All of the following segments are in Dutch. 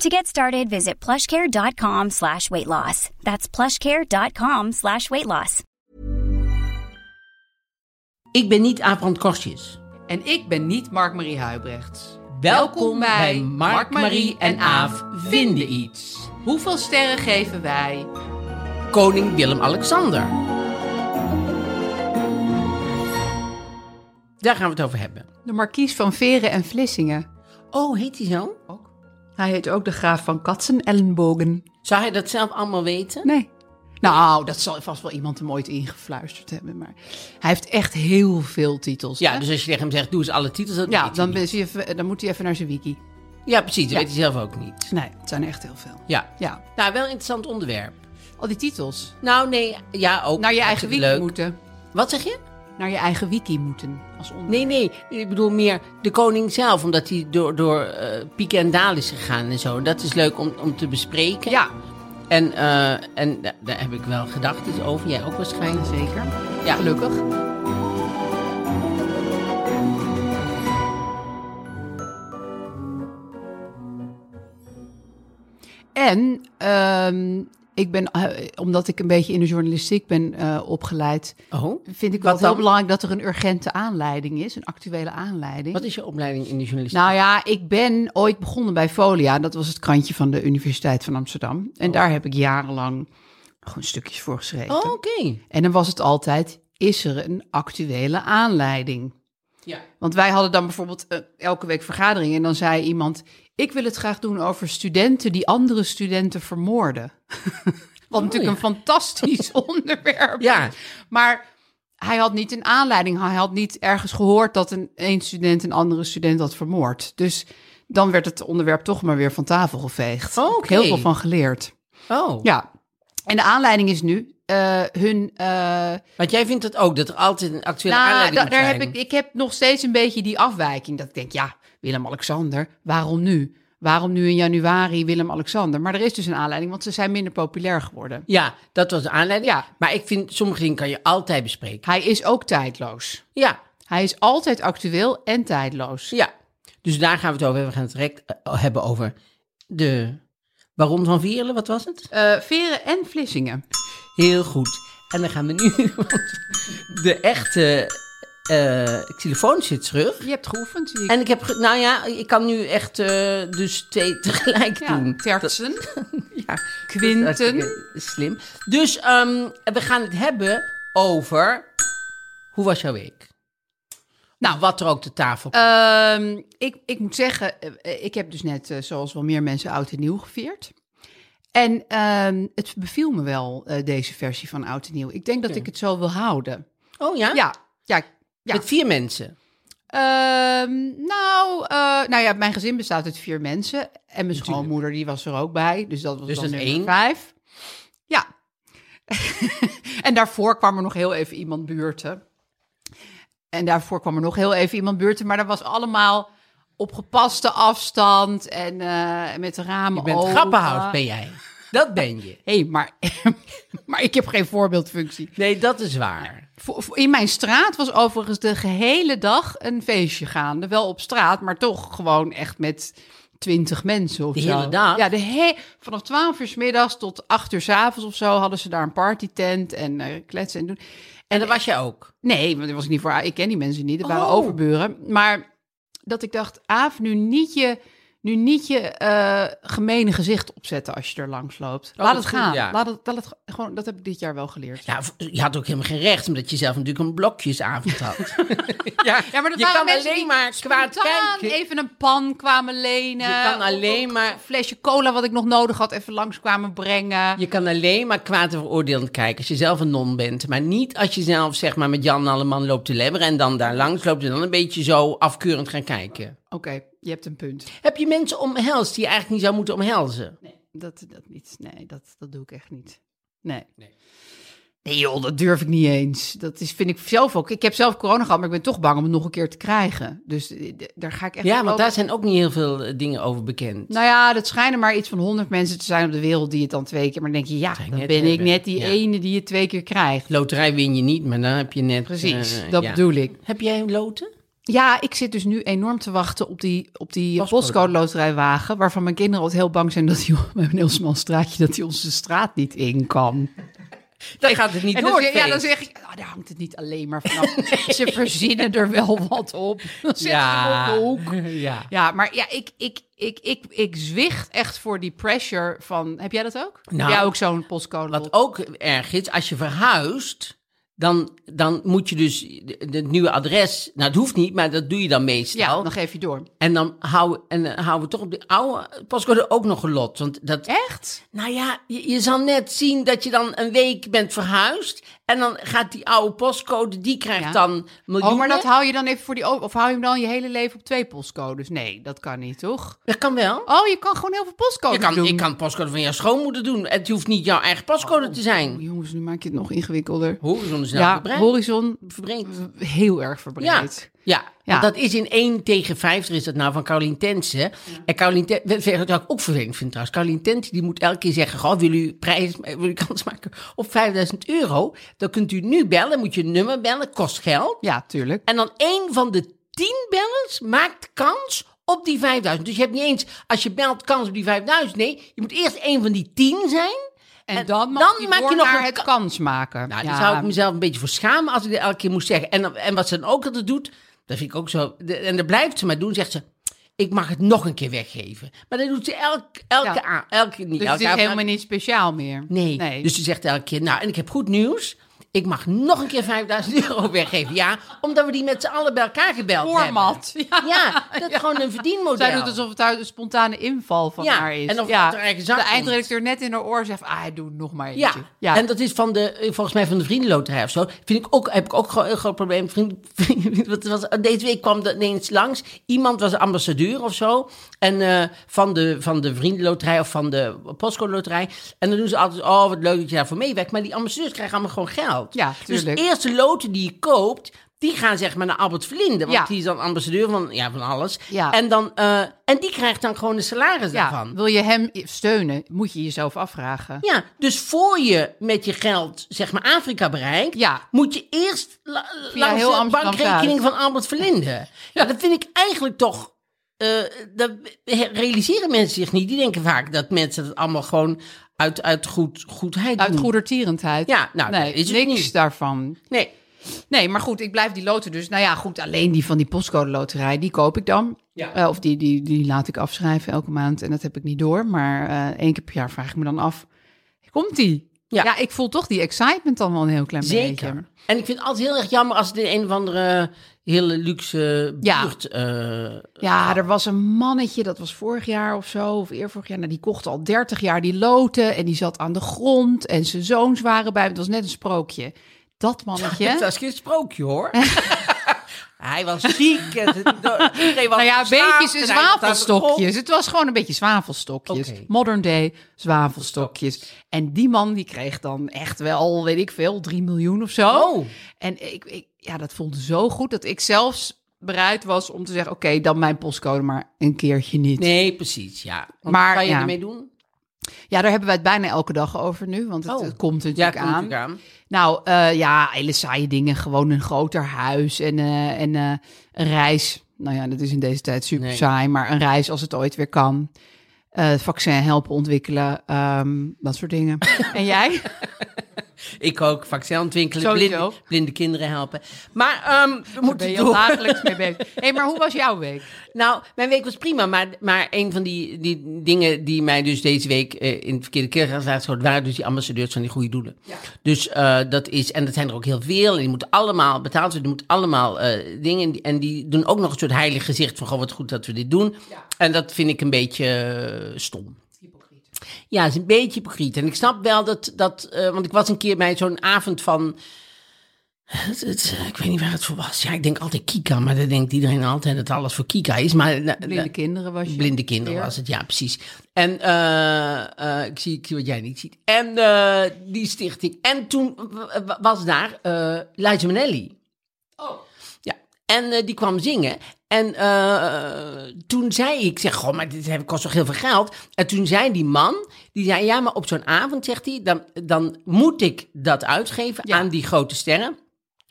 To get started, visit plushcare.com slash weight loss. That's plushcare.com slash weight loss. Ik ben niet Abrand Korsjes. En ik ben niet Mark-Marie Huibrechts. Welkom bij Mark, Marie en Aaf vinden iets. Hoeveel sterren geven wij? Koning Willem-Alexander. Daar gaan we het over hebben. De markies van Veren en Vlissingen. Oh, heet hij zo? Ook. Hij heet ook de graaf van Katsen-Ellenbogen. Zou hij dat zelf allemaal weten? Nee. Nou, dat zal vast wel iemand hem ooit ingefluisterd hebben. Maar hij heeft echt heel veel titels. Ja, hè? dus als je tegen hem zegt, doe eens alle titels, dat ja weet dan, hij niet. is hij even- dan moet hij even naar zijn wiki. Ja, precies, dat weet hij zelf ook niet. Nee, het zijn echt heel veel. Ja. Ja. Nou, wel een interessant onderwerp. Al die titels. Nou, nee, ja, ook. Naar je eigen Hartstikke wiki leuk. moeten. Wat zeg je? Naar je eigen wiki moeten. Als onder... Nee, nee, ik bedoel meer de koning zelf, omdat hij door, door eh, pieken en dalen is gegaan en zo. Dat is leuk om, om te bespreken. Ja, En, eh, en da- daar heb ik wel gedachten over. Jij ook waarschijnlijk. zeker. Ja. Gelukkig. En ehm, ik ben, eh, omdat ik een beetje in de journalistiek ben eh, opgeleid, Oh, vind ik wel Wat heel dan? belangrijk dat er een urgente aanleiding is, een actuele aanleiding. wat is je opleiding in de journalistiek? Nou ja, ik ben ooit begonnen bij Folia. Dat was het krantje van de Universiteit van Amsterdam. En daar heb ik jarenlang gewoon stukjes voor geschreven. oh, oké. En dan was het altijd, is er een actuele aanleiding? Ja. Want wij hadden dan bijvoorbeeld eh, elke week vergaderingen en dan zei iemand, ik wil het graag doen over studenten die andere studenten vermoorden. Wat natuurlijk een fantastisch onderwerp. Oh, Ja. Maar hij had niet een aanleiding. Hij had niet ergens gehoord dat een, een student een andere student had vermoord. Dus dan werd het onderwerp toch maar weer van tafel geveegd. Oké. Heb ik Heel veel van geleerd. Oh. Ja. En de aanleiding is nu eh, hun. eh, Want jij vindt het ook, dat er altijd een actuele nou, aanleiding da- moet daar zijn. heb ik, ik heb nog steeds een beetje die afwijking. Dat ik denk, ja, Willem-Alexander, waarom nu? Waarom nu in januari Willem-Alexander? Maar er is dus een aanleiding, want ze zijn minder populair geworden. Ja, dat was de aanleiding. Ja. Maar ik vind, sommige dingen kan je altijd bespreken. Hij is ook tijdloos. Ja, Hij is altijd actueel en tijdloos. ja. Dus daar gaan we het over hebben. We gaan het direct eh, hebben over de... Waarom van Vierle, wat was het? Eh, Veren en Vlissingen. Heel goed. En dan gaan we nu... want de echte eh xylofoon zit terug. Je hebt geoefend, zie ik. En ik heb... ge- Nou ja, ik kan nu echt eh, dus twee tegelijk ja, doen. tertsen, Ja, quinten. hartstikke Slim. Dus ehm, we gaan het hebben over... Hoe was jouw week? Nou, wat er ook te tafel komt. Ehm, ik, ik moet zeggen, eh, ik heb dus net, eh, zoals wel meer mensen, oud en nieuw gevierd. En ehm, het beviel me wel, eh, deze versie van oud en nieuw. Ik denk dat ik het zo wil houden. oh ja? Ja, ja. ja. Met vier mensen. Ehm, nou, eh, nou ja, mijn gezin bestaat uit vier mensen. En mijn schoonmoeder, die was er ook bij. Dus dat was Dus dan dat is nummer één. vijf. Ja. en daarvoor kwam er nog heel even iemand buurten. En daarvoor kwam er nog heel even iemand buurten. Maar dat was allemaal op gepaste afstand en eh, met de ramen Je bent open. grappenhout, ben jij. Dat ben je. Hé, maar, maar ik heb geen voorbeeldfunctie. Nee, dat is waar. Voor- voor- In mijn straat was overigens de gehele dag een feestje gaande. Wel op straat, maar toch gewoon echt met twintig mensen of De zo. hele dag? Ja, de he- vanaf 12 uur s middags tot 8 uur s avonds of zo hadden ze daar een partytent en eh, kletsen en doen. En dat was je Oh. ook. Nee, want daar was ik niet voor. Ik ken die mensen niet. Dat waren Oh. overburen. Maar dat ik dacht, Aaf, nu niet je nu niet je eh gemene gezicht opzetten als je er langs loopt. Laat Oh, dat het is goed, gaan. ja. Laat het, laat het ge- gewoon, dat heb ik dit jaar wel geleerd. Ja, v- je had ook helemaal geen recht, omdat je zelf natuurlijk een blokjesavond had. ja, Ja, maar dat je waren kan mensen alleen die maar kwaad spontaan kijken. even een pan kwamen lenen. Je kan of alleen een maar- flesje cola wat ik nog nodig had even langs kwamen brengen. Je kan alleen maar kwaad en veroordelend kijken als je zelf een non bent. Maar niet als je zelf zeg maar, met Jan Alleman loopt te lebberen en dan daar langs loopt en dan een beetje zo afkeurend gaan kijken. Oké, je hebt een punt. Heb je mensen omhelst die je eigenlijk niet zou moeten omhelzen? Dat, dat niet. Nee, dat, dat doe ik echt niet. Nee. nee. joh, dat durf ik niet eens. Dat is, vind ik zelf ook. Ik heb zelf corona gehad, maar ik ben toch bang om het nog een keer te krijgen. Dus eh, d- daar ga ik echt Ja, niet want over- daar zijn ook niet heel veel eh, dingen over bekend. Nou ja, dat schijnen maar iets van honderd mensen te zijn op de wereld die het dan twee keer. Maar dan denk je, ja, je dan net ben ik hebben. net die Ja. ene die het twee keer krijgt. Loterij win je niet, maar dan heb je net... Precies, eh, dat ja. bedoel ik. Heb jij een loten? Ja, ik zit dus nu enorm te wachten op die, op die Postcode. postcode loterijwagen. Waarvan mijn kinderen altijd heel bang zijn dat hij met een heel smal straatje, dat hij onze straat niet in kan. Dan gaat het niet En door. dan zeg, ja, feest. dan zeg ik, ah, daar hangt het niet alleen maar vanaf. Ze verzinnen er wel wat op. Dan zit ja. ja. op de hoek. Ja. oh, Ja, maar ja, ik, ik, ik, ik, ik zwicht echt voor die pressure van... Heb jij dat ook? Nou, Heb jij ook zo'n postcode? Wat ook erg is, als je verhuist, dan, dan moet je dus het nieuwe adres... Nou, het hoeft niet, maar dat doe je dan Ja, meestal. dan geef je door. En dan houden, en dan houden we toch op de oude postcode ook nog een lot. Want dat, Echt? nou ja, je, je zal net zien dat je dan een week bent verhuisd. En dan gaat die oude postcode, die krijgt Ja. dan miljoenen. Oh, maar dat hou je dan even voor die... o- Of hou je hem dan je hele leven op twee postcodes? Nee, dat kan niet, toch? Dat kan wel. Oh, je kan gewoon heel veel postcodes Je kan, doen. ik kan postcode van jouw schoonmoeder doen. Het hoeft niet jouw eigen postcode te Oh, zijn. jongens, nu maak je het nog ingewikkelder. Horizon is nou Ja, verbreid. horizon verbreed. heel erg Ja, Mm, verbreid. ja, Ja. Want dat is in 1 tegen 50 is dat nou van Carolien Tensen. En Carolien Tensen, wat ik ook vervelend vind trouwens. Carolien Tensen die moet elke keer zeggen, goh, wil u, prijs, wil u kans maken op 5000 euro? Dan kunt u nu bellen, moet je een nummer bellen, kost geld. ja tuurlijk. En dan één van de 10 bellers maakt kans op die 5000. Dus je hebt niet eens, als je belt, kans op die 5000. Nee, je moet eerst één van die 10 zijn. En, En dan, dan maak je nog naar het ka- kans maken. Nou, Ja. daar zou ik mezelf een beetje voor schamen als ik dit elke keer moest zeggen. En, en wat ze dan ook altijd doet, dat vind ik ook zo. de- en dat blijft ze maar doen, zegt ze. Ik mag het nog een keer weggeven. Maar dat doet ze elk, elke, Ja. a- elke niet Dus elke het is avond- helemaal niet speciaal meer. Nee. Dus ze zegt elke keer, nou, en ik heb goed nieuws. Ik mag nog een keer 5000 euro weggeven. Ja, omdat we die met z'n allen bij elkaar gebeld Format. hebben. Ja, dat is gewoon een verdienmodel. Zij doet alsof het uit een spontane inval van Ja, haar is. en of het er eigen zak de komt. eindredacteur net in haar oor zegt, ah, doe nog maar Ja. eentje. en dat is van de, eh, volgens mij van de vriendenloterij of zo. Vind ik ook, heb ik ook gewoon een groot probleem. Vriend, vriend- wat was, oh, deze week kwam er ineens langs. Iemand was ambassadeur of zo. En eh, van, de, van de vriendenloterij of van de postcode loterij. En dan doen ze altijd, oh wat leuk dat je daarvoor meewerkt. Maar die ambassadeurs krijgen allemaal gewoon geld. Ja, dus de tuurlijk. eerste loten die je koopt, die gaan zeg maar naar Albert Verlinde. Want Ja. die is dan ambassadeur van, ja, van alles. Ja. En, dan, eh, en die krijgt dan gewoon een salaris ja, daarvan. wil je hem steunen, moet je jezelf afvragen. Ja, dus voor je met je geld, zeg maar, Afrika bereikt, Ja. moet je eerst la- langs heel de Amsterdam bankrekening Zuid. van Albert Verlinde. Ja. dat vind ik eigenlijk toch. eh, dat realiseren mensen zich niet. Die denken vaak dat mensen het allemaal gewoon uit, uit goed, goedheid doen. Uit goedertierendheid. Ja, nou, nee, is het niks niet. daarvan. Nee. Nee, maar goed, ik blijf die loten dus. Nou ja, goed, alleen die van die postcode loterij, die koop ik dan. Ja. Eh, of die, die, die laat ik afschrijven elke maand. En dat heb ik niet door. Maar eh, één keer per jaar vraag ik me dan af, komt die? Ja. Ja. ik voel toch die excitement dan wel een heel klein beetje. Zeker. En ik vind het altijd heel erg jammer als het in een of andere hele luxe Ja. buurt... eh, Ja, er was een mannetje, dat was vorig jaar of zo, of eer vorig jaar. Nou, die kocht al 30 jaar die loten en die zat aan de grond en zijn zoons waren bij hem. Het was net een sprookje. Dat mannetje. Dat is geen sprookje, hoor. Hij was ziek. en het- iedereen was nou ja, verslaafd beetjes en en hij had aan de grond. zwavelstokjes. Het was gewoon een beetje zwavelstokjes. Oké. Modern day zwavelstokjes. En die man die kreeg dan echt wel, weet ik veel, 3 miljoen of zo. Oh. En ik, ik, ja, dat voelde zo goed dat ik zelfs bereid was om te zeggen... oké, dan mijn postcode maar een keertje niet. Nee, precies, ja. Want Maar, wat kan je ja. ermee doen? Ja, daar hebben wij het bijna elke dag over nu, want het, Oh. het komt natuurlijk Ja, het komt aan. natuurlijk aan. Nou, eh, ja, hele saaie dingen. Gewoon een groter huis en, eh, en eh, een reis. Nou ja, dat is in deze tijd super Nee. saai, maar een reis als het ooit weer kan. Eh, het vaccin helpen ontwikkelen, ehm, dat soort dingen. en jij? Ik ook. Vaccin ontwikkelen, Sowieso. blinde, blinde kinderen helpen. Maar ehm we Daar moeten ben je door. al dagelijks mee bezig. Hé, maar hoe was jouw week? Nou, mijn week was prima, maar, maar een van die, die dingen die mij dus deze week eh, in het verkeerde keer zaten, schoten, waren dus die ambassadeurs van die goede doelen. Dus eh, dat is, en dat zijn er ook heel veel, en die moeten allemaal betaald worden, die moeten allemaal eh, dingen, en die- en die doen ook nog een soort heilig gezicht van, goh, wat goed dat we dit doen. En dat vind ik een beetje eh, stom. Ja, het is een beetje hypocriet. En ik snap wel dat, dat eh, want ik was een keer bij zo'n avond van, het- het- eh, ik weet niet waar het voor was. Ja, ik denk altijd Kika, maar dan denkt iedereen altijd dat alles voor Kika is. Maar, eh, na- na- Blinde kinderen was je. blinde kinderen Weer. was het, ja, precies. En eh, eh, ik, zie, ik zie wat jij niet ziet. En eh, die stichting. En toen w- w- was daar eh Liza Minnelli. Oh. Ja. En eh, die kwam zingen. En eh, toen zei ik, zeg, goh, maar dit heeft- kost toch heel veel geld? En toen zei die man, die zei, ja, maar op zo'n avond, zegt hij, dan, dan moet ik dat uitgeven Ja. aan die grote sterren.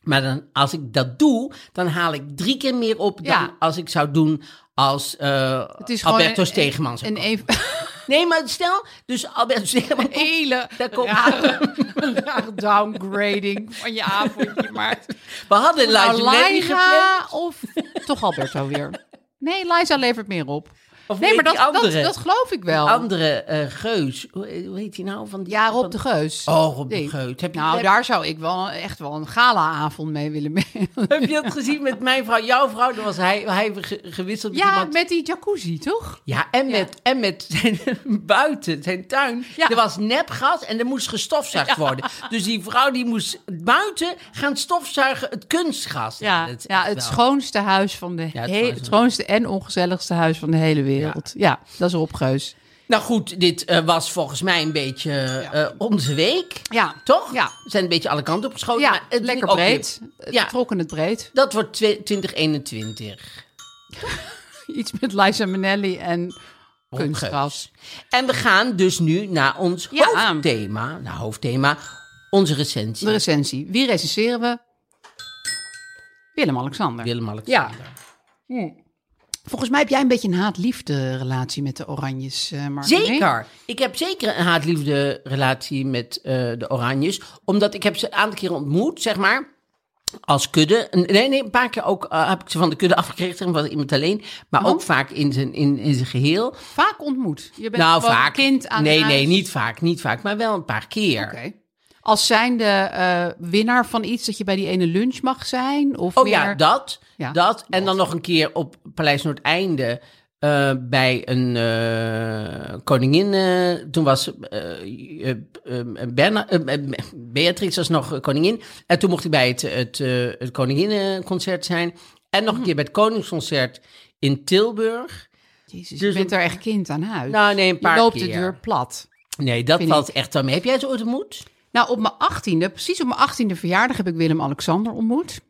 Maar dan, als ik dat doe, dan haal ik drie keer meer op dan Ja. als ik zou doen als eh, Het is gewoon Alberto een- Stegeman. zou Een, komen. een, Nee, maar stel, dus Alberto Stegeman komt- hele Daar komt- rare, rare downgrading van je avondje. Maar We hadden Liza nou, Minnelli gepland. Liza of toch Alberto weer? Nee, Liza levert meer op. Of nee, weet maar dat, die dat, andere? dat geloof ik wel. Andere eh, geus, hoe, hoe heet hij nou? Van die, Ja, Rob van- de Geus. Oh, Rob Nee. de Geus. Heb je, Nou, heb- daar zou ik wel echt wel een galaavond mee willen. Mee. heb je dat gezien met mijn vrouw, jouw vrouw? Dan was hij, hij ge- gewisseld met Ja, iemand. met die jacuzzi, toch? Ja, en met, En met zijn buiten, zijn tuin. Ja. Er was nepgas en er moest gestofzuigd worden. Dus die vrouw die moest buiten gaan stofzuigen, het kunstgas. Ja, Dat is ja echt het wel- schoonste huis van de Ja, het he- schoonste. het schoonste en ongezelligste huis van de hele wereld. Ja, dat is Rob Geus. Nou goed, dit eh, was volgens mij een beetje eh, onze week. Ja. Toch? Ja. We zijn een beetje alle kanten opgeschoten. Ja, Oh, maar het vind lekker ik ook breed. weer- Het Ja. Trokken het breed. Dat wordt twe- 2021. Iets met Liza Minnelli en kunstgras. En we gaan dus nu naar ons Ja. hoofdthema. Nou, hoofdthema, onze recensie. De recensie. Wie recenseren we? Willem-Alexander. Willem-Alexander. Ja. Volgens mij heb jij een beetje een haat-liefde relatie met de Oranjes, eh Mark. Zeker. Ik heb zeker een haatliefde relatie met eh, de Oranjes. Omdat ik heb ze een aantal keren ontmoet, zeg maar. Als kudde. Nee, nee, een paar keer ook eh, heb ik ze van de kudde afgekregen. En was iemand alleen. Maar Oh. ook vaak in zijn, in, in zijn geheel. Vaak ontmoet. Je bent nou, gewoon vaak. kind aan nee, huis. nee, niet vaak. Niet vaak, maar wel een paar keer. Oké. Als zijnde eh winnaar van iets dat je bij die ene lunch mag zijn? Of Oh meer... ja, dat. Ja, dat. En dan nog een keer op Paleis Noordeinde eh bij een eh, koningin. eh, toen was eh, eh, eh, Berna- eh, eh, Beatrix was nog eh, koningin. En toen mocht ik bij het, het, eh, het koninginnenconcert zijn. En Mhm. nog een keer bij het koningsconcert in Tilburg. Jezus, Dus je bent een- er echt kind aan huis. Nou, nee, een paar je loopt keer. de deur plat. Nee, dat Vind valt echt wel mee. Heb jij ze ooit ontmoet? Nou, op mijn achttiende, precies op mijn achttiende verjaardag heb ik Willem-Alexander ontmoet.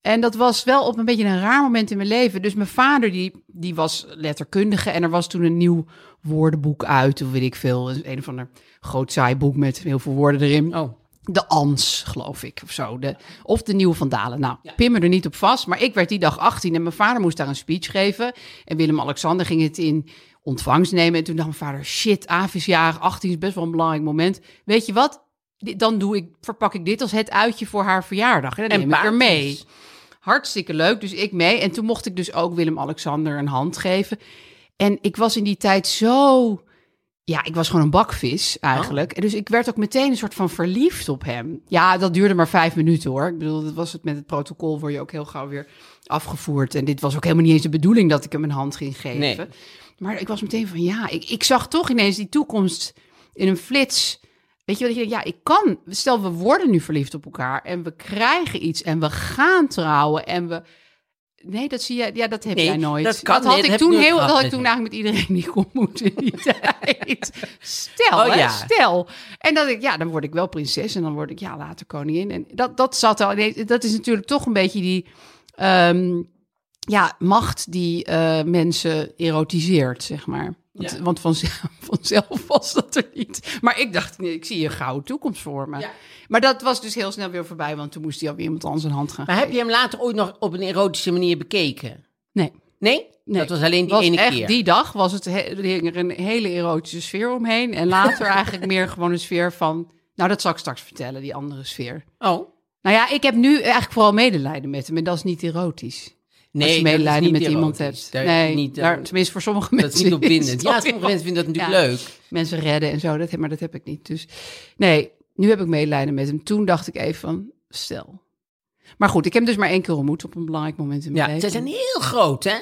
En dat was wel op een beetje een raar moment in mijn leven. Dus mijn vader, die, die was letterkundige en er was toen een nieuw woordenboek uit. Of weet ik veel, een een of ander groot saai boek met heel veel woorden erin. Oh. De Ans, geloof ik, of zo. De, of de Nieuwe Van Dalen. Nou, pin me er niet op vast. Maar ik werd die dag 18 en mijn vader moest daar een speech geven. En Willem-Alexander ging het in ontvangst nemen. En toen dacht mijn vader, shit, Aaf is jarig, 18 is best wel een belangrijk moment. Weet je wat? Dit- Dan doe ik, verpak ik dit als het uitje voor haar verjaardag. En dan En neem ik er paardjes. mee. Hartstikke leuk, dus ik mee. En toen mocht ik dus ook Willem-Alexander een hand geven. En ik was in die tijd zo... Ja, ik was gewoon een bakvis Oh. eigenlijk. En Dus ik werd ook meteen een soort van verliefd op hem. Ja, dat duurde maar vijf minuten hoor. Ik bedoel, dat was het met het protocol, word je ook heel gauw weer afgevoerd. En dit was ook helemaal niet eens de bedoeling dat ik hem een hand ging geven. Nee. Maar ik was meteen van ja, ik, ik zag toch ineens die toekomst in een flits. Weet je wat? ik- Ja, ik kan. Stel, we worden nu verliefd op elkaar en we krijgen iets en we gaan trouwen en we. Nee, dat zie jij. Ja, dat heb Nee, jij nooit. dat kan dat had niet. ik Dat heb toen ik nooit heel. Dat gehad, had ik toen nee. eigenlijk met iedereen die ik ontmoette in die tijd. Stel, Oh, hè, ja. stel. En dat ik, ja, dan word ik wel prinses en dan word ik, ja, later koningin. En dat, dat zat al. Nee, dat is natuurlijk toch een beetje die. ehm, ja, macht die eh, mensen erotiseert, zeg maar. Want, Ja. want vanzelf, vanzelf was dat er niet. Maar ik dacht, nee, ik zie een gouden toekomst voor me. Maar dat was dus heel snel weer voorbij, want toen moest hij alweer iemand anders een hand gaan Maar heb geven. je hem later ooit nog op een erotische manier bekeken? Nee. Nee? Nee. Dat was alleen die was ene echt, keer. Die dag was het he- er hing er een hele erotische sfeer omheen. En later eigenlijk meer gewoon een sfeer van... Nou, dat zal ik straks vertellen, die andere sfeer. Oh. Nou ja, ik heb nu eigenlijk vooral medelijden met hem. En dat is niet erotisch. Nee, Als je dat is medelijden niet met iemand erotisch. hebt. Daar- nee, niet, daar, eh, tenminste voor sommige dat mensen. is niet opwindend. is Ja, dat sommige heel- mensen vinden dat Ja. natuurlijk leuk. Mensen redden en zo, dat, maar dat heb ik niet. Dus nee, nu heb ik medelijden met hem. Toen dacht ik even van, stel. Maar goed, ik heb hem dus maar één keer ontmoet op een belangrijk moment in mijn Ja, ze leven. zijn heel groot, hè?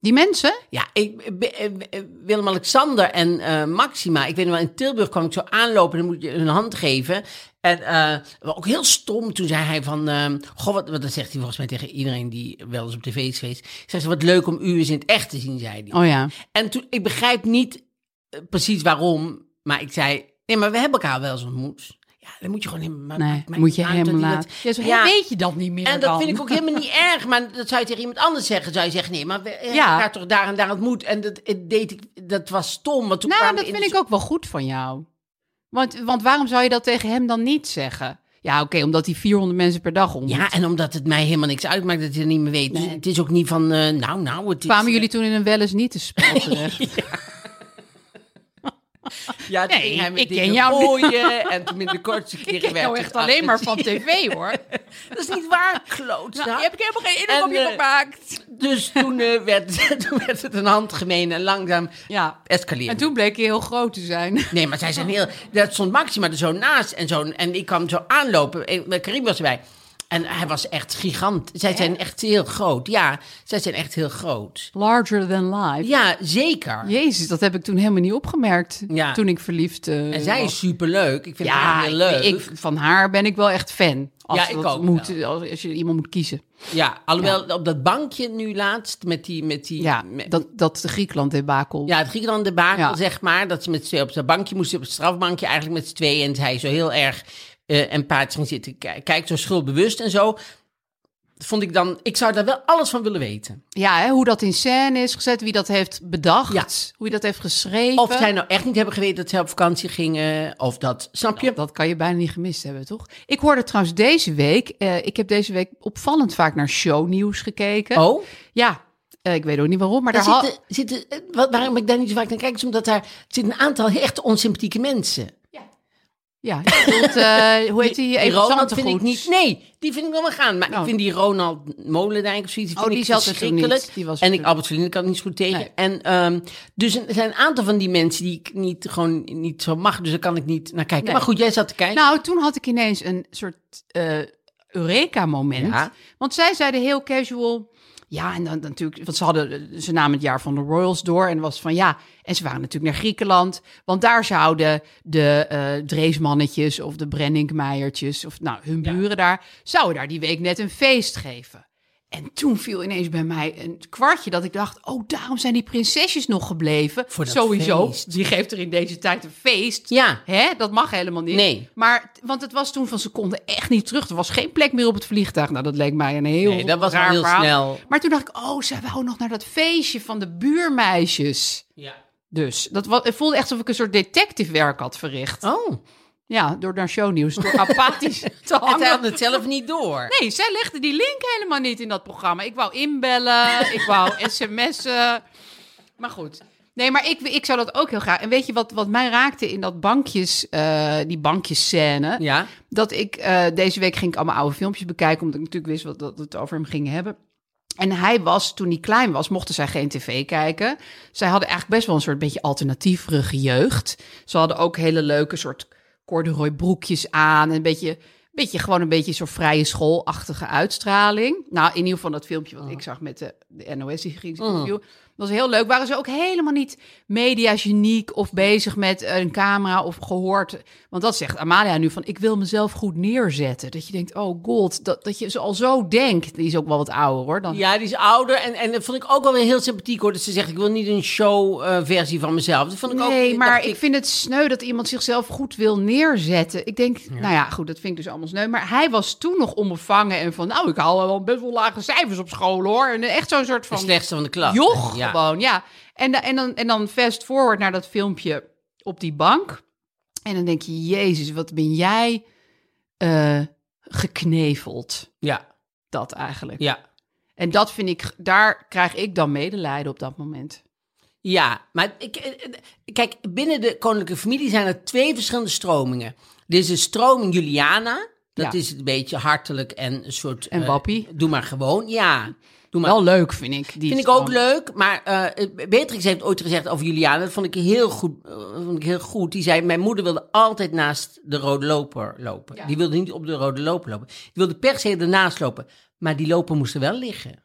Die mensen? Ja, ik, eh, eh, eh, Willem-Alexander en eh, Maxima. Ik weet nog wel, in Tilburg kwam ik zo aanlopen en dan moet je hun hand geven. En eh, ook heel stom, toen zei hij van... ehm, goh, wat, wat dat zegt hij volgens mij tegen iedereen die wel eens op tv is geweest. Zegt ze, wat leuk om u eens in het echt te zien, zei hij. Oh ja. En toen, ik begrijp niet eh, precies waarom, maar ik zei... Nee, maar we hebben elkaar wel eens ontmoet. Ja, dan moet je gewoon helemaal... maar- Nee, maakt mij moet je niet uit dat hem hij dat- laten. Ja, zo, Ja. Weet je dat niet meer En dat dan? vind ik ook helemaal niet erg, maar dat zou je tegen iemand anders zeggen. Zou je zeggen, nee, maar we hebben Ja. elkaar toch daar en daar ontmoet. En dat, het deed ik, dat was stom. Want toen Nou, kwamen dat we in vind de ik ook wel goed van jou. Want, want waarom zou je dat tegen hem dan niet zeggen? Ja, oké, omdat hij 400 mensen per dag ontmoet. Ja, en omdat het mij helemaal niks uitmaakt dat je het niet meer weet. Dus Nee. het is ook niet van, eh, nou, nou. Het is, Kwamen jullie toen in een wel eens niet te spel terecht? eh, Ja, toen Nee, ging hij met ik dikke ken jou gooien En toen in de kortste keren Ik ken werd jou het echt alleen maar achter- van tv, hoor. Dat is niet waar, kloot. Nou, heb ik helemaal geen indruk En, op je eh, gemaakt. Dus toen, eh, werd, toen werd het een handgemeen en langzaam Ja. escaleren. En toen bleek je heel groot te zijn. Nee, maar zij zijn heel... Dat stond Maxima er zo naast en zo. En ik kwam zo aanlopen. Ik- Met Karim was erbij. En hij was echt gigant. Zij zijn echt heel groot. Ja, zij zijn echt heel groot. Larger than life. Ja, zeker. Jezus, dat heb ik toen helemaal niet opgemerkt. Ja. Toen ik verliefd eh, En zij was. is superleuk. Ik vind Ja, haar heel leuk. ik, van haar ben ik wel echt fan. Als Ja, je ik dat ook Moet, wel. als, als je iemand moet kiezen. Ja, alhoewel op dat bankje nu laatst met die... Met die Ja, met- dat, dat Griekenland-debakel. Ja, het Griekenland debakel, Ja. zeg maar. Dat ze met z'n tweeën op dat bankje moesten, op het strafbankje eigenlijk met z'n tweeën. En zij zo heel erg eh empathisch ging zitten. Kijk, kijk, zo schuldbewust en zo. Vond ik dan... Ik zou daar wel alles van willen weten. Ja, hè, hoe dat in scène is gezet, wie dat heeft bedacht, Ja. hoe je dat heeft geschreven. Of zij nou echt niet hebben geweten dat zij op vakantie gingen. Of dat, snap je? Dat kan je bijna niet gemist hebben, toch? Ik hoorde trouwens deze week, eh, ik heb deze week opvallend vaak naar shownieuws gekeken. Oh, Ja, eh, ik weet ook niet waarom, maar daar daar had... zitten, zitten, eh, wat, waarom ik daar niet zo vaak naar kijk, is omdat daar er zitten een aantal echt onsympathieke mensen. Ja, ik bedoel, eh, hoe heet die? Die Evert Ronald vind ik Zantegoed. niet. Nee, die vind ik wel wel gaan. Maar Oh. ik vind die Ronald Molendijk of zoiets. Die Oh, vind die ik zat er toen verschrikkelijk. niet. Die was er en ik toen Albert Verlinde kan het niet zo goed tegen. Nee. En, ehm, dus er zijn een aantal van die mensen die ik niet, gewoon niet zo mag. Dus daar kan ik niet naar kijken. Nee. Maar goed, jij zat te kijken. Nou, toen had ik ineens een soort eh, Eureka-moment. Ja. Want zij zeiden heel casual. Ja, en dan, dan natuurlijk, want ze, hadden, ze namen het jaar van de Royals door. En was van ja. En ze waren natuurlijk naar Griekenland. Want daar zouden de eh Dreesmannetjes of de Brenninkmeijertjes. of nou hun buren daar. zouden daar die week net een feest geven. En toen viel ineens bij mij een kwartje dat ik dacht: oh, daarom zijn die prinsesjes nog gebleven. Voor dat Sowieso. feest. Die geeft er in deze tijd een feest. Ja. Hè? Dat mag helemaal niet. Nee. Maar, want het was toen van ze konden echt niet terug. Er was geen plek meer op het vliegtuig. Nou, dat leek mij een heel Nee, dat was wel raar heel verhaal. snel. Maar toen dacht ik, oh, zij wou nog naar dat feestje van de buurmeisjes. Ja. Dus dat was, het voelde echt alsof ik een soort detective werk had verricht. Oh, Ja, door naar shownieuws, door apathisch te en hij hangen. had het zelf niet door. Nee, zij legde die link helemaal niet in dat programma. Ik wou inbellen, ik wou sms'en. Maar goed. Nee, maar ik, ik zou dat ook heel graag. En weet je wat, wat mij raakte in dat bankjes, eh die bankjesscène? Ja. Dat ik eh, deze week ging ik allemaal oude filmpjes bekijken, omdat ik natuurlijk wist wat dat we het over hem ging hebben. En hij was, toen hij klein was, mochten zij geen tv kijken. Zij hadden eigenlijk best wel een soort beetje alternatieverige jeugd. Ze hadden ook hele leuke soort corduroy broekjes aan. En een beetje, beetje gewoon een beetje zo'n vrije schoolachtige uitstraling. Nou, in ieder geval dat filmpje wat ik zag met de, de NOS die ging interview. Dat was heel leuk. Waren ze ook helemaal niet mediageniek of bezig met een camera of gehoord. Want dat zegt Amalia nu van, ik wil mezelf goed neerzetten. Dat je denkt, oh god, dat, dat je ze al zo denkt. Die is ook wel wat ouder hoor. Dan, Ja, die is ouder. En, en dat vond ik ook wel weer heel sympathiek hoor. Dat ze zegt, ik wil niet een show-versie van mezelf. Dat vond ik ook... nee, maar dacht ik vind het sneu dat iemand zichzelf goed wil neerzetten. Ik denk, nou ja, goed, dat vind ik dus allemaal sneu. Maar hij was toen nog onbevangen en van, nou, ik haal wel best wel lage cijfers op school, hoor. En eh, echt zo'n soort De van slechtste van de klas. joch Ja. gewoon, ja. En, da- en, dan, en dan fast forward naar dat filmpje op die bank. En dan denk je, jezus, wat ben jij eh, gekneveld, Ja, dat eigenlijk. ja. En dat vind ik, daar krijg ik dan medelijden op dat moment. Ja, maar ik, eh, eh, kijk, binnen de koninklijke familie zijn er twee verschillende stromingen. Dit is een stroming Juliana. Dat Ja. is een beetje hartelijk en een soort... En eh, wappie. doe maar gewoon, ja. Doe maar, Wel leuk, vind ik. Die vind ik stroom. ook leuk. Maar eh, Beatrix heeft ooit gezegd over Juliana. Dat vond ik heel goed. eh, vond ik heel goed. Die zei, mijn moeder wilde altijd naast de rode loper lopen. Die wilde niet op de rode loper lopen. Die wilde per se ernaast lopen. Maar die loper moest er wel liggen.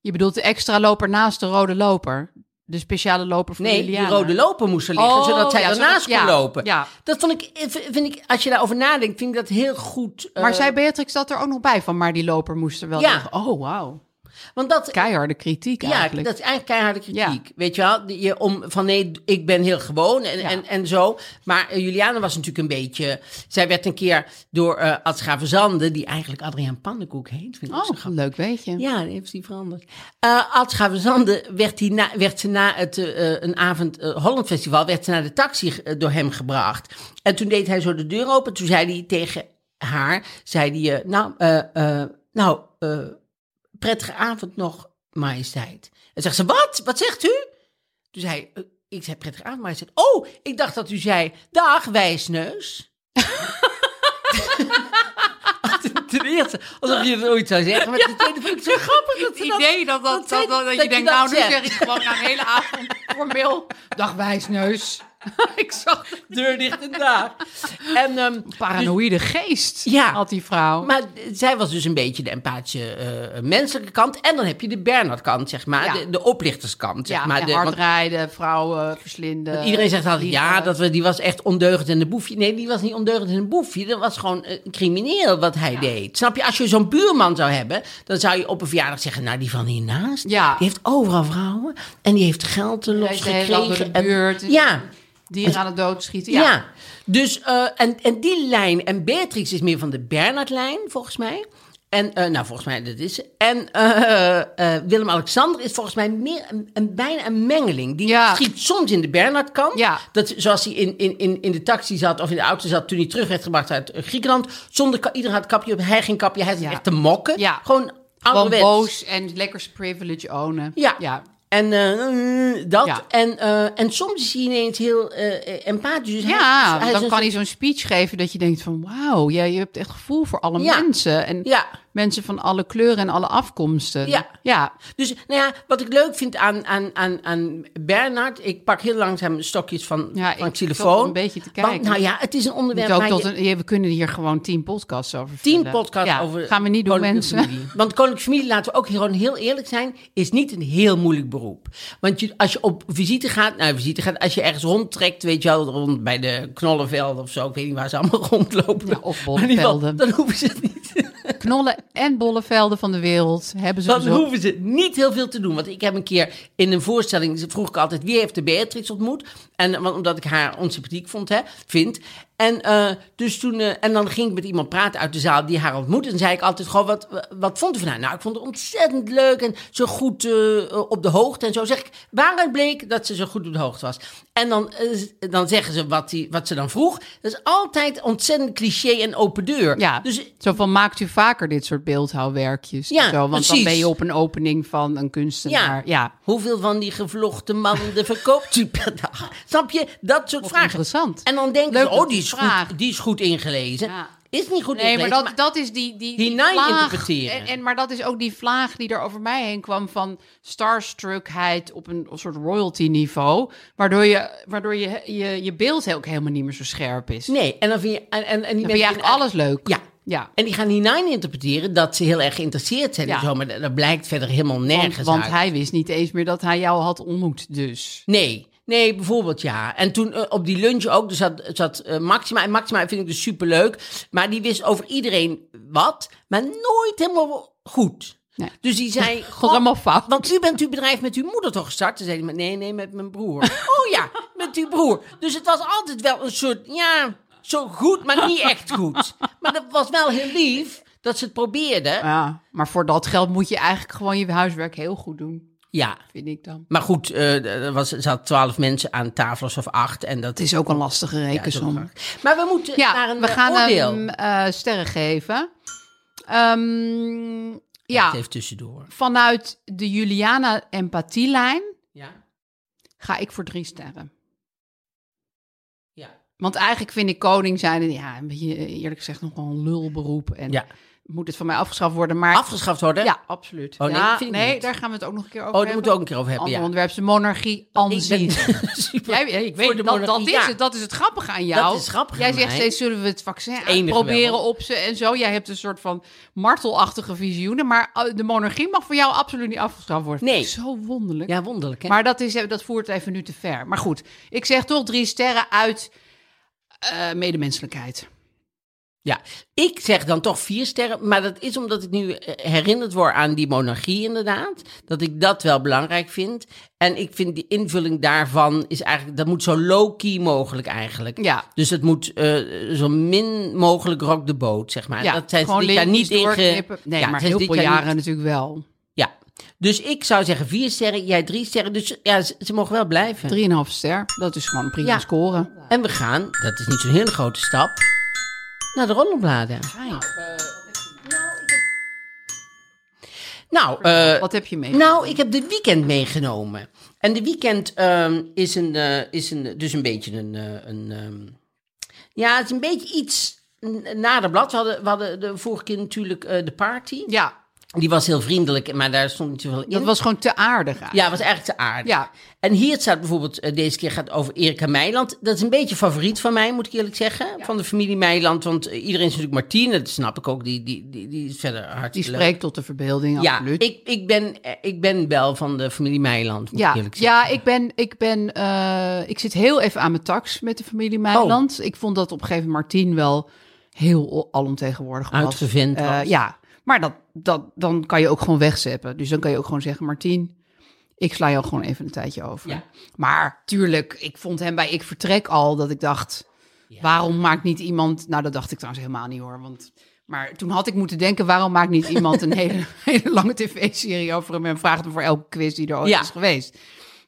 Je bedoelt de extra loper naast de rode loper. De speciale loper voor Nee, Liliana. die rode loper moest er liggen, Oh, zodat zij ja, ernaast zodat- kon ja, lopen. ja. Dat vond ik, eh, vind ik, als je daarover nadenkt, vind ik dat heel goed. eh, Maar zei Beatrix dat er ook nog bij van, maar die loper moest er wel Ja. liggen. Oh, wauw. want dat, Keiharde kritiek ja, eigenlijk. dat is eigenlijk keiharde kritiek. Weet je wel, Die- je, om, van nee, ik ben heel gewoon en, Ja. en, en zo. Maar eh, Juliana was natuurlijk een beetje, zij werd een keer door eh Adscha Verzande, die eigenlijk Adriaan Pannenkoek heet, vind ik ook zo Oh, grappig. leuk weet je. Ja, die heeft hij veranderd. Eh Adscha Verzande werd, die na, werd ze na het, eh, eh, een avond eh, Holland Festival... werd ze naar de taxi eh, door hem gebracht. En toen deed hij zo de deur open. Toen zei hij tegen haar, zei hij... eh, nou, eh, eh, nou eh, prettige avond nog, majesteit. En zegt ze, wat? Wat zegt u? Toen zei hij, eh, ik zei prettige avond, majesteit. Oh, ik dacht dat u zei, dag, wijsneus. Ten eerste, alsof je het ooit zou zeggen. Maar ten tweede vind ik het zo grappig dat ze dat... dat, dat- zij- dat- dat je dat je denkt, dat nou, nu zegt. zeg ik gewoon na een hele avond formeel. Dag wijsneus. ik zag deur dicht en daar. En, ehm, paranoïde geest Ja. had die vrouw. maar zij was dus een beetje de empathische eh, menselijke kant. En dan heb je de Bernard-kant, zeg maar. Ja. De, de oplichterskant, zeg ja, maar. en De, hard want rijden, vrouwen verslinden. iedereen zegt altijd, liegen. ja, dat we, die was echt ondeugend en een boefje. Nee, die was niet ondeugend en een boefje. Dat was gewoon eh, een crimineel wat hij deed. Snap je? Als je zo'n buurman zou hebben, dan zou je op een verjaardag zeggen... Nou, die van hiernaast, Ja. die heeft overal vrouwen. En die heeft geld te los Rijdt de hele dag door de gekregen. En- buurt. ja, Dieren aan het doodschieten. Ja. Ja. Dus, eh, en, en die lijn, en Beatrix is meer van de Bernhard-lijn, volgens mij. En, eh, nou, volgens mij, dat is ze. En eh, eh, Willem-Alexander is volgens mij meer een, een- bijna een mengeling. Die Ja. schiet soms in de Bernhard-kant. Ja. Dat, zoals hij in, in, in, in de taxi zat of in de auto zat toen hij terug werd gebracht uit eh, Griekenland. Zonder, ka- iedereen had kapje op, hij geen kapje, hij zat Ja. echt te mokken. Ja. Gewoon Gewoon ouderwets. boos en lekker privilege ownen. Ja. ja. En eh, dat. Ja. En, eh, en soms is hij ineens heel eh, empathisch. Dus hij- Ja, hij is dan een kan hij zo'n speech geven dat je denkt van... wauw, ja, je hebt echt gevoel voor alle Ja. mensen. En Ja. mensen van alle kleuren en alle afkomsten. Ja. ja. Dus nou ja, wat ik leuk vind aan, aan, aan, aan Bernard... Ik pak heel langzaam stokjes van, Ja, van ik xylofoon. zat een beetje te Want, kijken. nou ja, het is een onderwerp Moet ook waar tot je- een, ja, we kunnen hier gewoon tien podcasts over tien vullen. podcasts Ja, over... Oh, Gaan we niet doen, koninklijke mensen. familie. Want koninklijke familie, laten we ook gewoon heel eerlijk zijn... is niet een heel moeilijk beroep. Want je, als je op visite gaat... Nou, visite gaat, als je ergens rondtrekt... weet je wel, rond bij de knollenvelden of zo... ik weet niet waar ze allemaal rondlopen. Ja, of Maar in ieder geval, bollenvelden. Dan hoeven ze het niet... Knollen en bollevelden van de wereld hebben ze Dan bezocht. hoeven ze niet heel veel te doen. Want ik heb een keer in een voorstelling, vroeg ik altijd wie heeft de Beatrix ontmoet. En, want, omdat ik haar onsympathiek vond, hè, vind. En, eh, dus toen, eh, en dan ging ik met iemand praten uit de zaal die haar ontmoet. En zei ik altijd gewoon, wat, wat vond u van haar? Nou, ik vond het ontzettend leuk en zo goed eh, op de hoogte. En zo zeg ik, waaruit bleek dat ze zo goed op de hoogte was. En dan, eh, dan zeggen ze wat, die, wat ze dan vroeg. Dat is altijd ontzettend cliché en open deur. Ja, Dus zo van maakt u vaker dit soort beeldhouwwerkjes? Ja, zo, want precies. dan ben je op een opening van een kunstenaar. Ja, Hoeveel van die gevlochten mannen verkoopt u per dag? Snap je? Dat soort vragen. interessant. En dan denken Leuk ze, dat oh, die die is, vraag. goed, die is goed ingelezen. Ja. Is niet goed Nee, maar ingelezen. dat, dat is die... die, die Hierna vlaag. interpreteren. En, en, maar dat is ook die vlaag die er over mij heen kwam van starstruckheid op een soort royalty niveau. Waardoor je, waardoor je, je, je beeld ook helemaal niet meer zo scherp is. Nee, en dan vind je... En, en, en die dan vind je mensen- eigenlijk alles leuk. Ja. ja. En die gaan hierna interpreteren dat ze heel erg geïnterresseerd zijn. Ja. en Zo, maar dat, dat blijkt verder helemaal nergens Want, want uit. hij wist niet eens meer dat hij jou had ontmoet, dus. Nee. Nee, bijvoorbeeld ja. En toen eh, op die lunch ook, dus zat, zat eh, Maxima. En Maxima vind ik dus superleuk. Maar die wist over iedereen wat, maar nooit helemaal goed. Nee. Dus die zei... God, allemaal fout. Want u bent uw bedrijf met uw moeder toch gestart? Toen zei hij, maar nee, nee, met mijn broer. oh ja, met uw broer. Dus het was altijd wel een soort, ja, zo goed, maar niet echt goed. Maar dat was wel heel lief dat ze het probeerden. Ja, maar voor dat geld moet je eigenlijk gewoon je huiswerk heel goed doen, Ja. vind ik dan. Maar goed, eh, er, was, er zaten twaalf mensen aan tafels of acht. En dat Het is ook een lastige rekensom. Ja, Maar we moeten Ja, naar een we eh, gaan oordeel. hem eh, sterren geven. Ehm, ja, Het even tussendoor. vanuit de Juliana-empathielijn Ja. ga ik voor drie sterren. ja. Want eigenlijk vind ik koning zijn, ja, een beetje eh, eerlijk gezegd nogal een lulberoep. En Ja. moet het van mij afgeschaft worden, maar... Afgeschaft worden? Ja, absoluut. Oh, nee, Ja, vind ik nee, niet. daar gaan we het ook nog een keer over daar hebben. moeten we ook een keer over hebben, Ander ja. Oh, onderwerp is de monarchie aan Ik ben- zich. super. Jij, eh, ik Voor de weet dat, dat, monarchie, is ja. het, dat is het grappige aan jou. Dat is grappig Jij aan zegt mij. steeds, zullen we het vaccin enige proberen wel. op ze en zo. Jij hebt een soort van martelachtige visioenen. Maar eh, de monarchie mag voor jou absoluut niet afgeschaft worden. Nee. Vind ik Zo wonderlijk. Ja, wonderlijk, hè? Maar dat, is, dat voert even nu te ver. Maar goed, ik zeg toch drie sterren uit eh, medemenselijkheid. Ja, ik zeg dan toch vier sterren, maar dat is omdat ik nu eh, herinnerd word aan die monarchie inderdaad, dat ik dat wel belangrijk vind. En ik vind die invulling daarvan is eigenlijk, dat moet zo low-key mogelijk eigenlijk. Ja. Dus het moet eh, zo min mogelijk rock de boot, zeg maar. Ja, dat zijn ze gewoon dit jaar lintjes niet in doorknippen. Nee, maar heel veel jaren natuurlijk wel. Ja, dus ik zou zeggen vier sterren, jij drie sterren, dus ja, ze, ze mogen wel blijven. Drieënhalf ster, dat is gewoon een prima Ja. score. En we gaan, dat is niet zo'n hele grote stap, naar de roddelbladen. Nou, eh, Wat heb je mee? nou, ik heb de weekend meegenomen. En de weekend ehm, is, een, eh, is een, dus een beetje een. eh, een ehm, ja, het is een beetje iets n- nader blad. We hadden, we hadden de vorige keer natuurlijk eh, de party. ja, Die was heel vriendelijk, maar daar stond niet zoveel in. dat was gewoon te aardig eigenlijk. Ja, was eigenlijk te aardig. Ja. En hier staat bijvoorbeeld, eh, deze keer gaat het over Erika Meiland. Dat is een beetje favoriet van mij, moet ik eerlijk zeggen. Van de familie Meiland, want eh, iedereen is natuurlijk Martine, dat snap ik ook. Die, die, die, die is verder hartstikke Die leuk. spreekt tot de verbeelding, Ja, absoluut. ik, ik, ben, eh, ik ben wel van de familie Meiland, moet ja, ik eerlijk zeggen. ja, ik ben, ik ben, eh, ik zit heel even aan mijn tax met de familie Oh. Meiland. Ik vond dat op een gegeven moment Martien wel heel o- alomtegenwoordig was. Uitgevent Eh, was. ja, maar dat, dat, dan kan je ook gewoon wegzeppen. Dus dan kan je ook gewoon zeggen, Martien, ik sla jou gewoon even een tijdje over. Ja. Maar tuurlijk, ik vond hem bij Ik Vertrek al dat ik dacht, waarom maakt niet iemand... Nou, dat dacht ik trouwens helemaal niet hoor, want... Maar toen had ik moeten denken, waarom maakt niet iemand een hele, hele lange tv-serie over hem en vraagt hem voor elke quiz die er ooit Ja. is geweest.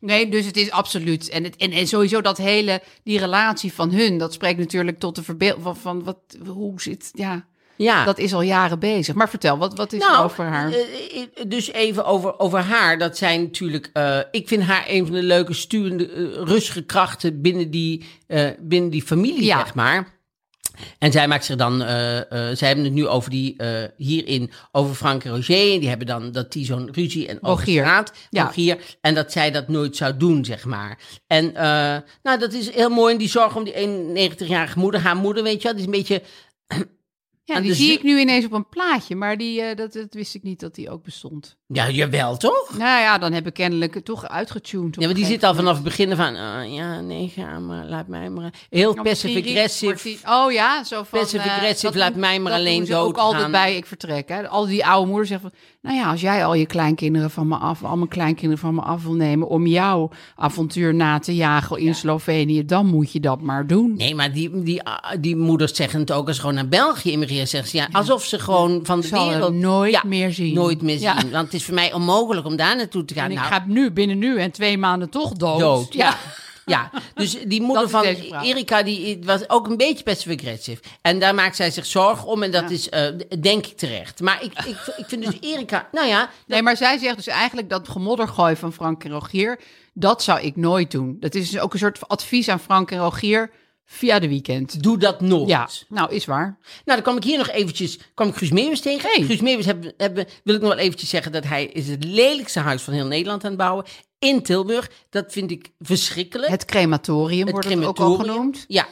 Nee, dus het is absoluut. En, het, en, en sowieso dat hele, die relatie van hun, dat spreekt natuurlijk tot de verbeelding van, van wat, hoe zit, ja, Ja. dat is al jaren bezig. Maar vertel, wat, wat is er over haar? Nou, eh, eh, dus even over, over haar. Dat zijn natuurlijk. eh, ik vind haar een van de leuke, sturende, eh, rustige krachten binnen die, eh, binnen die familie, Ja. zeg maar. En zij maakt zich dan. eh, eh, zij hebben het nu over die. eh, hierin over Frank en Roger. En die hebben dan dat die zo'n ruzie en over Rogier. straat. Ja. Rogier. En dat zij dat nooit zou doen, zeg maar. En eh, nou, dat is heel mooi. En die zorg om die 91-jarige moeder. Haar moeder, weet je wel. Die is een beetje. ja, aan die eh, dus de zie zu- ik nu ineens op een plaatje, maar die, eh, dat, dat wist ik niet dat die ook bestond. Ja, jawel toch? Nou ja, dan heb ik kennelijk het toch uitgetuned. Ja, want die zit al vanaf het begin van, eh, ja, nee, ga maar, laat mij maar. Heel Nou, passive agressive. Oh ja, zo van... Passive eh, aggressive, dat laat doen- mij maar dat alleen doen ze ook doodgaan. altijd bij ik vertrek. Hè. Al die oude moeders zeggen van... Nou ja, als jij al je kleinkinderen van me af... al mijn kleinkinderen van me af wil nemen... om jouw avontuur na te jagen in Slovenië... dan moet je dat maar doen. Nee, maar die, die, ah, die moeders zeggen het ook als ze gewoon naar België immigreren. Zeggen ze, ja, alsof ze gewoon van de zal het wereld... nooit Ja, meer zien. Nooit meer Ja. zien, want het is voor mij onmogelijk om daar naartoe te gaan. en ik Nou, ga nu, binnen nu en twee maanden toch dood. dood. Ja. ja. Dus die moeder is van deze vraag. Erika die was ook een beetje passive aggressive. En daar maakt zij zich zorgen om en dat is, eh, denk ik, terecht. Maar ik, ik, ik vind dus Erika... Nou ja, Nee, maar zij zegt dus eigenlijk dat gemoddergooi van Frank en Rogier, dat zou ik nooit doen. Dat is dus ook een soort advies aan Frank en Rogier via de weekend. doe dat nooit. Ja, nou is waar. Nou, dan kwam ik hier nog eventjes, kwam ik Guus Meeuwis tegen. Hey. Guus Meeuwis hebben, hebben, wil ik nog wel eventjes zeggen dat hij is het lelijkste huis van heel Nederland aan het bouwen. In Tilburg. Dat vind ik verschrikkelijk. Het crematorium Het wordt het ook al crematorium. genoemd. Ja.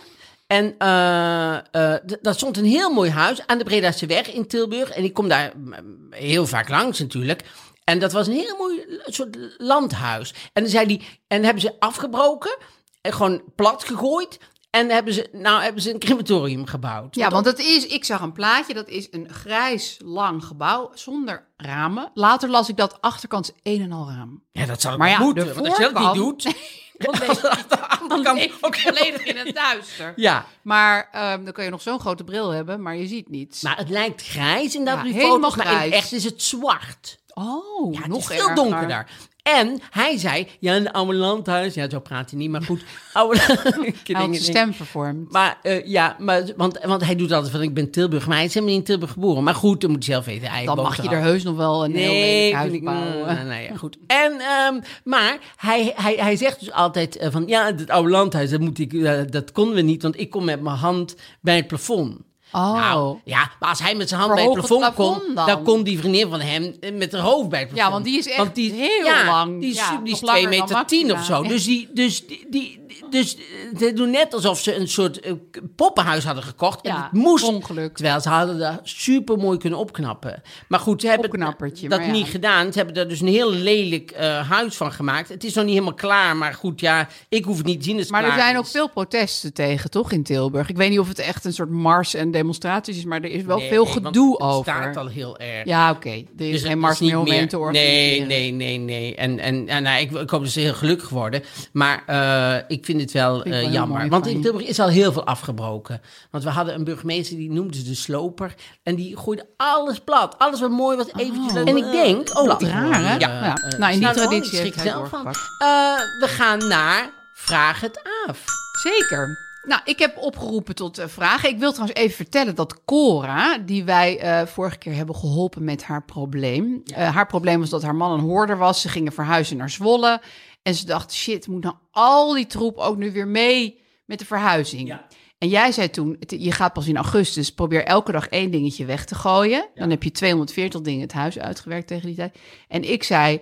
En eh, eh, d- daar stond een heel mooi huis aan de Bredase Weg in Tilburg. En ik kom daar mm, heel vaak langs natuurlijk. En dat was een heel mooi l- soort landhuis. En dan zei die, en hebben ze afgebroken, en gewoon plat gegooid. En hebben ze, nou hebben ze een crematorium gebouwd. Ja, want dat is, ik zag een plaatje, dat is een grijs lang gebouw zonder ramen. Later las ik dat achterkant is een en al raam. Ja, dat zou ik Maar ja, moeten, de want als je dat niet voorkant- doet... Dan leef- als dat de andere kant leef je ook helemaal- volledig in het duister. Ja, Maar ehm, dan kun je nog zo'n grote bril hebben, maar je ziet niets. maar het lijkt grijs in dat Ja, die helemaal foto's, maar in grijs. het echt is het zwart. oh, Ja, het nog is veel erger. donkerder. En hij zei, ja, een oude landhuis. Ja, zo praat hij niet, maar goed. Oude, Hij had zijn stem vervormd. Maar eh, ja, maar, want, want hij doet altijd van, ik ben Tilburg. Maar hij is helemaal niet in Tilburg geboren. Maar goed, dan moet je zelf weten. hij Dan woont mag je al. er heus nog wel een heel lelijk Nee, vind huis ik, nou, nou, bouwen. nou ja, goed. En, ehm, maar hij, hij, hij zegt dus altijd eh, van, ja, het oude landhuis, dat, moet ik, eh, dat konden we niet, want ik kom met mijn hand bij het plafond. Oh. Nou, ja, maar als hij met zijn hand bij het Verhoog het plafond, plafond kon, dan. dan. kon die vriendin van hem eh, met haar hoofd bij het plafond. Ja, want die is echt heel ja, lang. Die is, Ja, die is nog langer 2 dan meter Maxima. 10 of zo. Dus, die, dus, die, die- dus ze doen net alsof ze een soort eh, poppenhuis hadden gekocht. en Ja, het moest. ongeluk. Terwijl ze hadden daar super mooi kunnen opknappen. Maar goed, ze hebben Opknappertje, dat maar ja. niet gedaan. Ze hebben daar dus een heel lelijk eh, huis van gemaakt. Het is nog niet helemaal klaar, maar goed, ja, ik hoef het niet te zien. als het Maar er klaar zijn ook is. veel protesten tegen, toch, in Tilburg? Ik weet niet of het echt een soort mars en demonstraties is, maar er is wel Nee, veel want gedoe Het over. staat al heel erg. Ja, oké. Er is Dus geen het mars niet meer omheen te Nee, organiseren. nee, nee, nee. En, en, en nou, ik, ik hoop dat ze heel gelukkig worden. Maar eh, ik vind het wel Vind ik eh, wel heel jammer. mooi Want van in je. Tilburg is al heel veel afgebroken. Want we hadden een burgemeester, die noemde ze de sloper. En die gooide alles plat. Alles wat mooi was, eventjes... En ik denk... Oh, Wat raar, hè? Ja. Ja. Eh, Nou, in die nou, traditie ik schrik heeft hij zelf van. doorgepakt. Eh, we gaan naar Vraag het af. Zeker. Nou, ik heb opgeroepen tot eh, vragen. Ik wil trouwens even vertellen dat Cora, die wij eh, vorige keer hebben geholpen met haar probleem. eh, haar probleem was dat haar man een hoorder was. Ze gingen verhuizen naar Zwolle. En ze dacht, shit, moet nou al die troep ook nu weer mee met de verhuizing? En jij zei toen, het- je gaat pas in augustus, probeer elke dag één dingetje weg te gooien. Dan heb je 240 dingen het huis uitgewerkt tegen die tijd. En ik zei,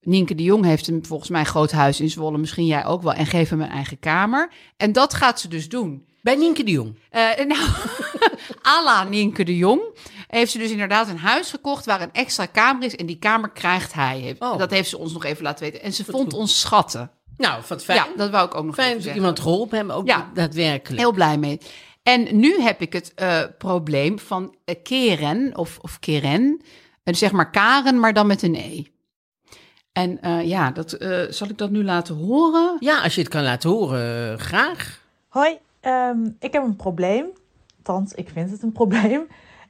Nienke de Jong heeft een, volgens mij groot huis in Zwolle, misschien jij ook wel, en geef hem een eigen kamer. En dat gaat ze dus doen. Bij Nienke de Jong. Eh, nou, à la Nienke de Jong heeft ze dus inderdaad een huis gekocht waar een extra kamer is. En die kamer krijgt hij. Heeft- Oh. Dat heeft ze ons nog even laten weten. En ze vond ons schatten. Nou, wat fijn. Ja, dat wou ik ook nog Fijn even dat zeggen. iemand geholpen hem ook Ja. daadwerkelijk. Heel blij mee. En nu heb ik het eh, probleem van eh, keren of, of keren. En zeg maar karen, maar dan met een e. En eh, ja, dat, eh, zal ik dat nu laten horen? Ja, als je het kan laten horen, eh, graag. Hoi, ehm, ik heb een probleem. Althans, ik vind het een probleem.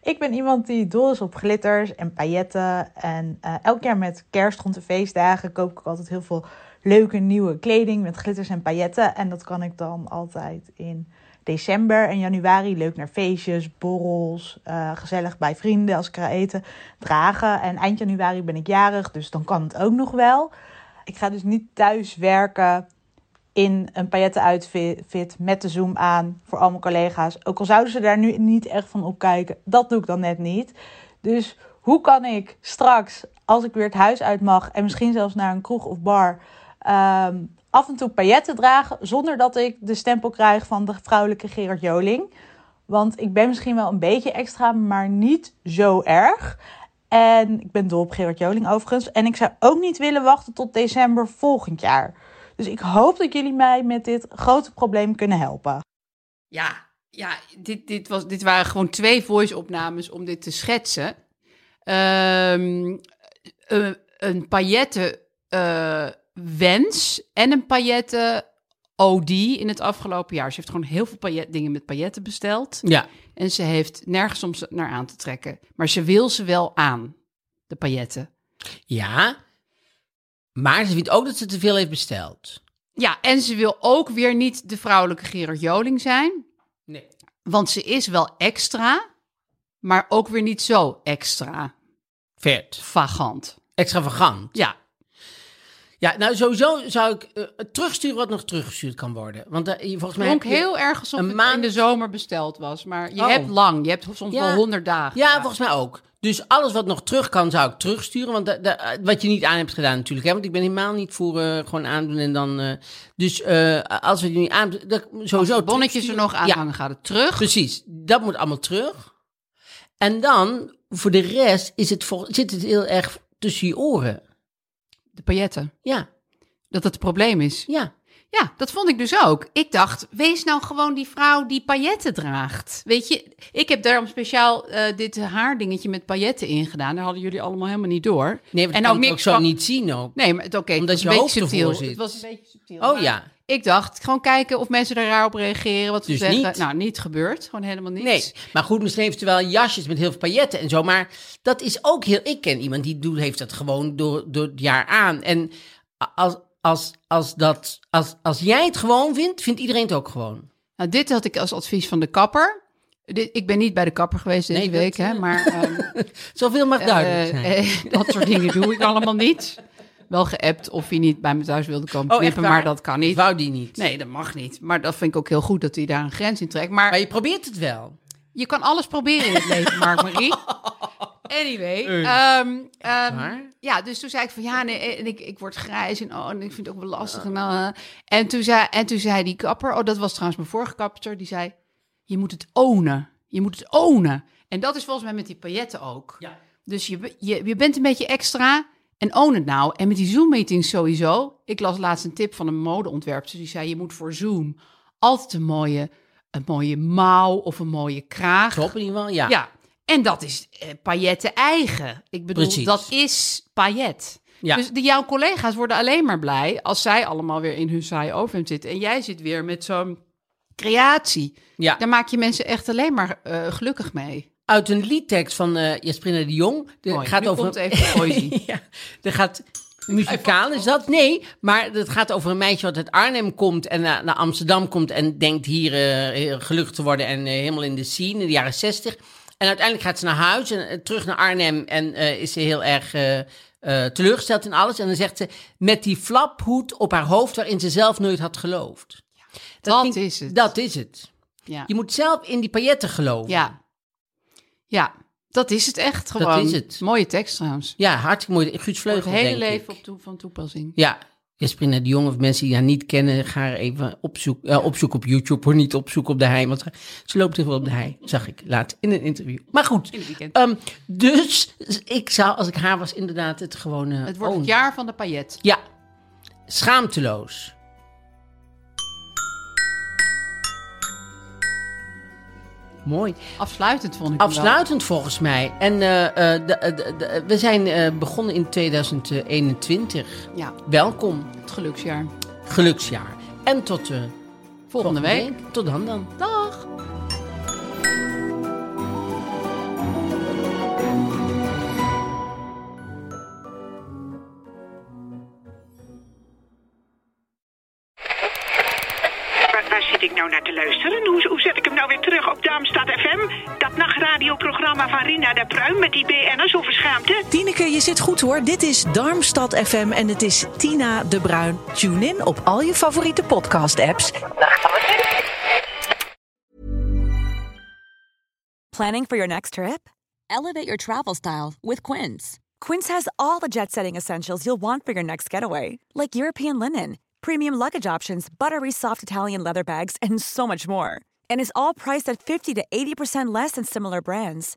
Ik ben iemand die dol is op glitters en pailletten. En eh, elk jaar met kerst rond de feestdagen koop ik altijd heel veel leuke nieuwe kleding met glitters en pailletten. En dat kan ik dan altijd in december en januari leuk naar feestjes, borrels, eh, gezellig bij vrienden als ik ga eten, dragen. En eind januari ben ik jarig, dus dan kan het ook nog wel. Ik ga dus niet thuis werken in een pailletten-outfit met de zoom aan voor al mijn collega's. Ook al zouden ze daar nu niet echt van opkijken, dat doe ik dan net niet. Dus hoe kan ik straks, als ik weer het huis uit mag en misschien zelfs naar een kroeg of bar, ehm, af en toe pailletten dragen zonder dat ik de stempel krijg van de vrouwelijke Gerard Joling? Want ik ben misschien wel een beetje extra, maar niet zo erg. En ik ben dol op Gerard Joling overigens. En ik zou ook niet willen wachten tot december volgend jaar. Dus ik hoop dat jullie mij met dit grote probleem kunnen helpen. Ja, ja dit, dit, was, dit waren gewoon twee voice-opnames om dit te schetsen. Ehm, eh, een pailletten eh, wens en een pailletten OD in het afgelopen jaar. Ze heeft gewoon heel veel paillet, dingen met pailletten besteld. Ja. En ze heeft nergens om ze naar aan te trekken. Maar ze wil ze wel aan, de pailletten. Ja, maar ze vindt ook dat ze te veel heeft besteld. Ja, en ze wil ook weer niet de vrouwelijke Gerard Joling zijn. Nee. Want ze is wel extra, maar ook weer niet zo extra. Vert. Vagant. Extravagant. Ja, Ja, nou sowieso zou ik eh, terugsturen wat nog teruggestuurd kan worden. Want daar- je volgens mij... klonk heb je- heel erg alsof een het maand- in de zomer besteld was. Maar je Oh. hebt lang, je hebt soms Ja. wel honderd dagen. Ja, volgens mij ook. Dus alles wat nog terug kan, zou ik terugsturen. Want da- da- wat je niet aan hebt gedaan natuurlijk. Hè? Want ik ben helemaal niet voor eh, gewoon aandoen en dan... eh, dus eh, als we die niet aan... dat- Als sowieso de bonnetjes er terugsturen. nog aan Ja, hangen, gaat het terug. Precies, dat moet allemaal terug. En dan, voor de rest, is het vol- zit het heel erg tussen je oren. De pailletten. Ja, Dat dat het probleem is. ja. Ja, dat vond ik dus ook. Ik dacht, wees nou gewoon die vrouw die pailletten draagt. Weet je, ik heb daarom speciaal eh, dit haardingetje met pailletten ingedaan. Daar hadden jullie allemaal helemaal niet door. Nee, want dat kan ik niks ook zo van- niet zien ook. Nee, maar het oké, het Omdat was je een beetje hoofd ervoor subtiel. zit. Het was een beetje subtiel. Oh maar ja. Ik dacht, gewoon kijken of mensen daar raar op reageren. Wat ze Dus zeggen. niet. Nou, niet gebeurd. Gewoon helemaal niks. Nee, maar goed, misschien heeft ze wel jasjes met heel veel pailletten en zo. Maar dat is ook heel... Ik ken iemand die doet, heeft dat gewoon door, door het jaar aan. En als, als, als, dat, als, als jij het gewoon vindt, vindt iedereen het ook gewoon. Nou, dit had ik als advies van de kapper. Dit, ik ben niet bij de kapper geweest deze Nee, dat, week, hè, eh, maar ehm, Zoveel mag duidelijk eh, zijn. eh, dat soort dingen doe ik allemaal niet. Wel geappt of hij niet bij me thuis wilde komen Oh, echt knippen, waar? maar dat kan niet. Wou die niet. Nee, dat mag niet. Maar dat vind ik ook heel goed dat hij daar een grens in trekt. Maar Maar je probeert het wel. je kan alles proberen in het leven, Mark-Marie. Anyway, ehm, ehm, waar? ja, dus toen zei ik van ja, nee, en ik, ik word grijs en oh, en ik vind het ook wel lastig. En, eh, en, toen zei, en toen zei die kapper, oh, dat was trouwens mijn vorige kapper, die zei: Je moet het ownen. Je moet het ownen. En dat is volgens mij met die pailletten ook. Ja. Dus je, be- je, je bent een beetje extra en own het nou. En met die Zoom-meetings sowieso. Ik las laatst een tip van een modeontwerper. Dus Die zei, je moet voor Zoom altijd een mooie, een mooie mouw of een mooie kraag. Top in ieder geval, ja. Ja. En dat is eh, pailletten eigen. Ik bedoel, Precies. dat is paillet. Ja. Dus de, jouw collega's worden alleen maar blij als zij allemaal weer in hun saai overhemd zitten. En jij zit weer met zo'n creatie. Ja. Daar maak je mensen echt alleen maar eh, gelukkig mee. Uit een liedtekst van eh Jasperina de Jong. De, Mooi. gaat Nu over... komt even poëzie. ja, er gaat... Muzikaal is dat? Nee, maar het gaat over een meisje wat uit Arnhem komt en eh, naar, naar Amsterdam komt en denkt hier eh, gelukkig te worden en eh, helemaal in de scene in de jaren zestig. En uiteindelijk gaat ze naar huis en eh, terug naar Arnhem en eh, is ze heel erg eh, eh, teleurgesteld in alles. En dan zegt ze met die flaphoed op haar hoofd waarin ze zelf nooit had geloofd. dat vind ik- is het. Dat is het. Ja. Je moet zelf in die pailletten geloven. Ja. Ja, dat is het echt gewoon. is het. Mooie tekst trouwens. Ja, hartstikke mooi. Guus Voor het Vleugel, hele denk ik. leven op toe, van toepassing. Ja, Jasperina de Jong, of mensen die haar niet kennen, ga haar even opzoeken, eh, opzoeken op YouTube. Hoor niet opzoeken op de hei, want ze, ze loopt heel veel op de hei, zag ik laat in een interview. Maar goed, In het weekend. ehm, dus ik zou, als ik haar was, inderdaad het gewoon... eh, Het wordt ownen. het jaar van de paillet. Ja, schaamteloos. Mooi. Afsluitend vond ik hem wel. Afsluitend volgens mij. En eh, eh, de- eh, de- de- we zijn eh, begonnen in 2021. Ja, Welkom het geluksjaar. geluksjaar. En tot de Volgende week. Tot dan dan. Dag! Waar, waar zit ik nou naar te luisteren? Hoe, hoe zet ik hem nou weer terug op Darmstad FM? Dat nachtradioprogramma van Rina de Pruim met die BN'ers over schaamte? Tineke, je zit goed hoor. Dit is Darmstad FM en het is Tina de Bruin. Tune in op al je favoriete podcast-apps. Planning for your next trip? Elevate your travel style with Quince. Quince has all the jet setting essentials you'll want for your next getaway, like European linen, premium luggage options, buttery soft Italian leather bags, and so much more. And is all priced at 50 to 80% less than similar brands.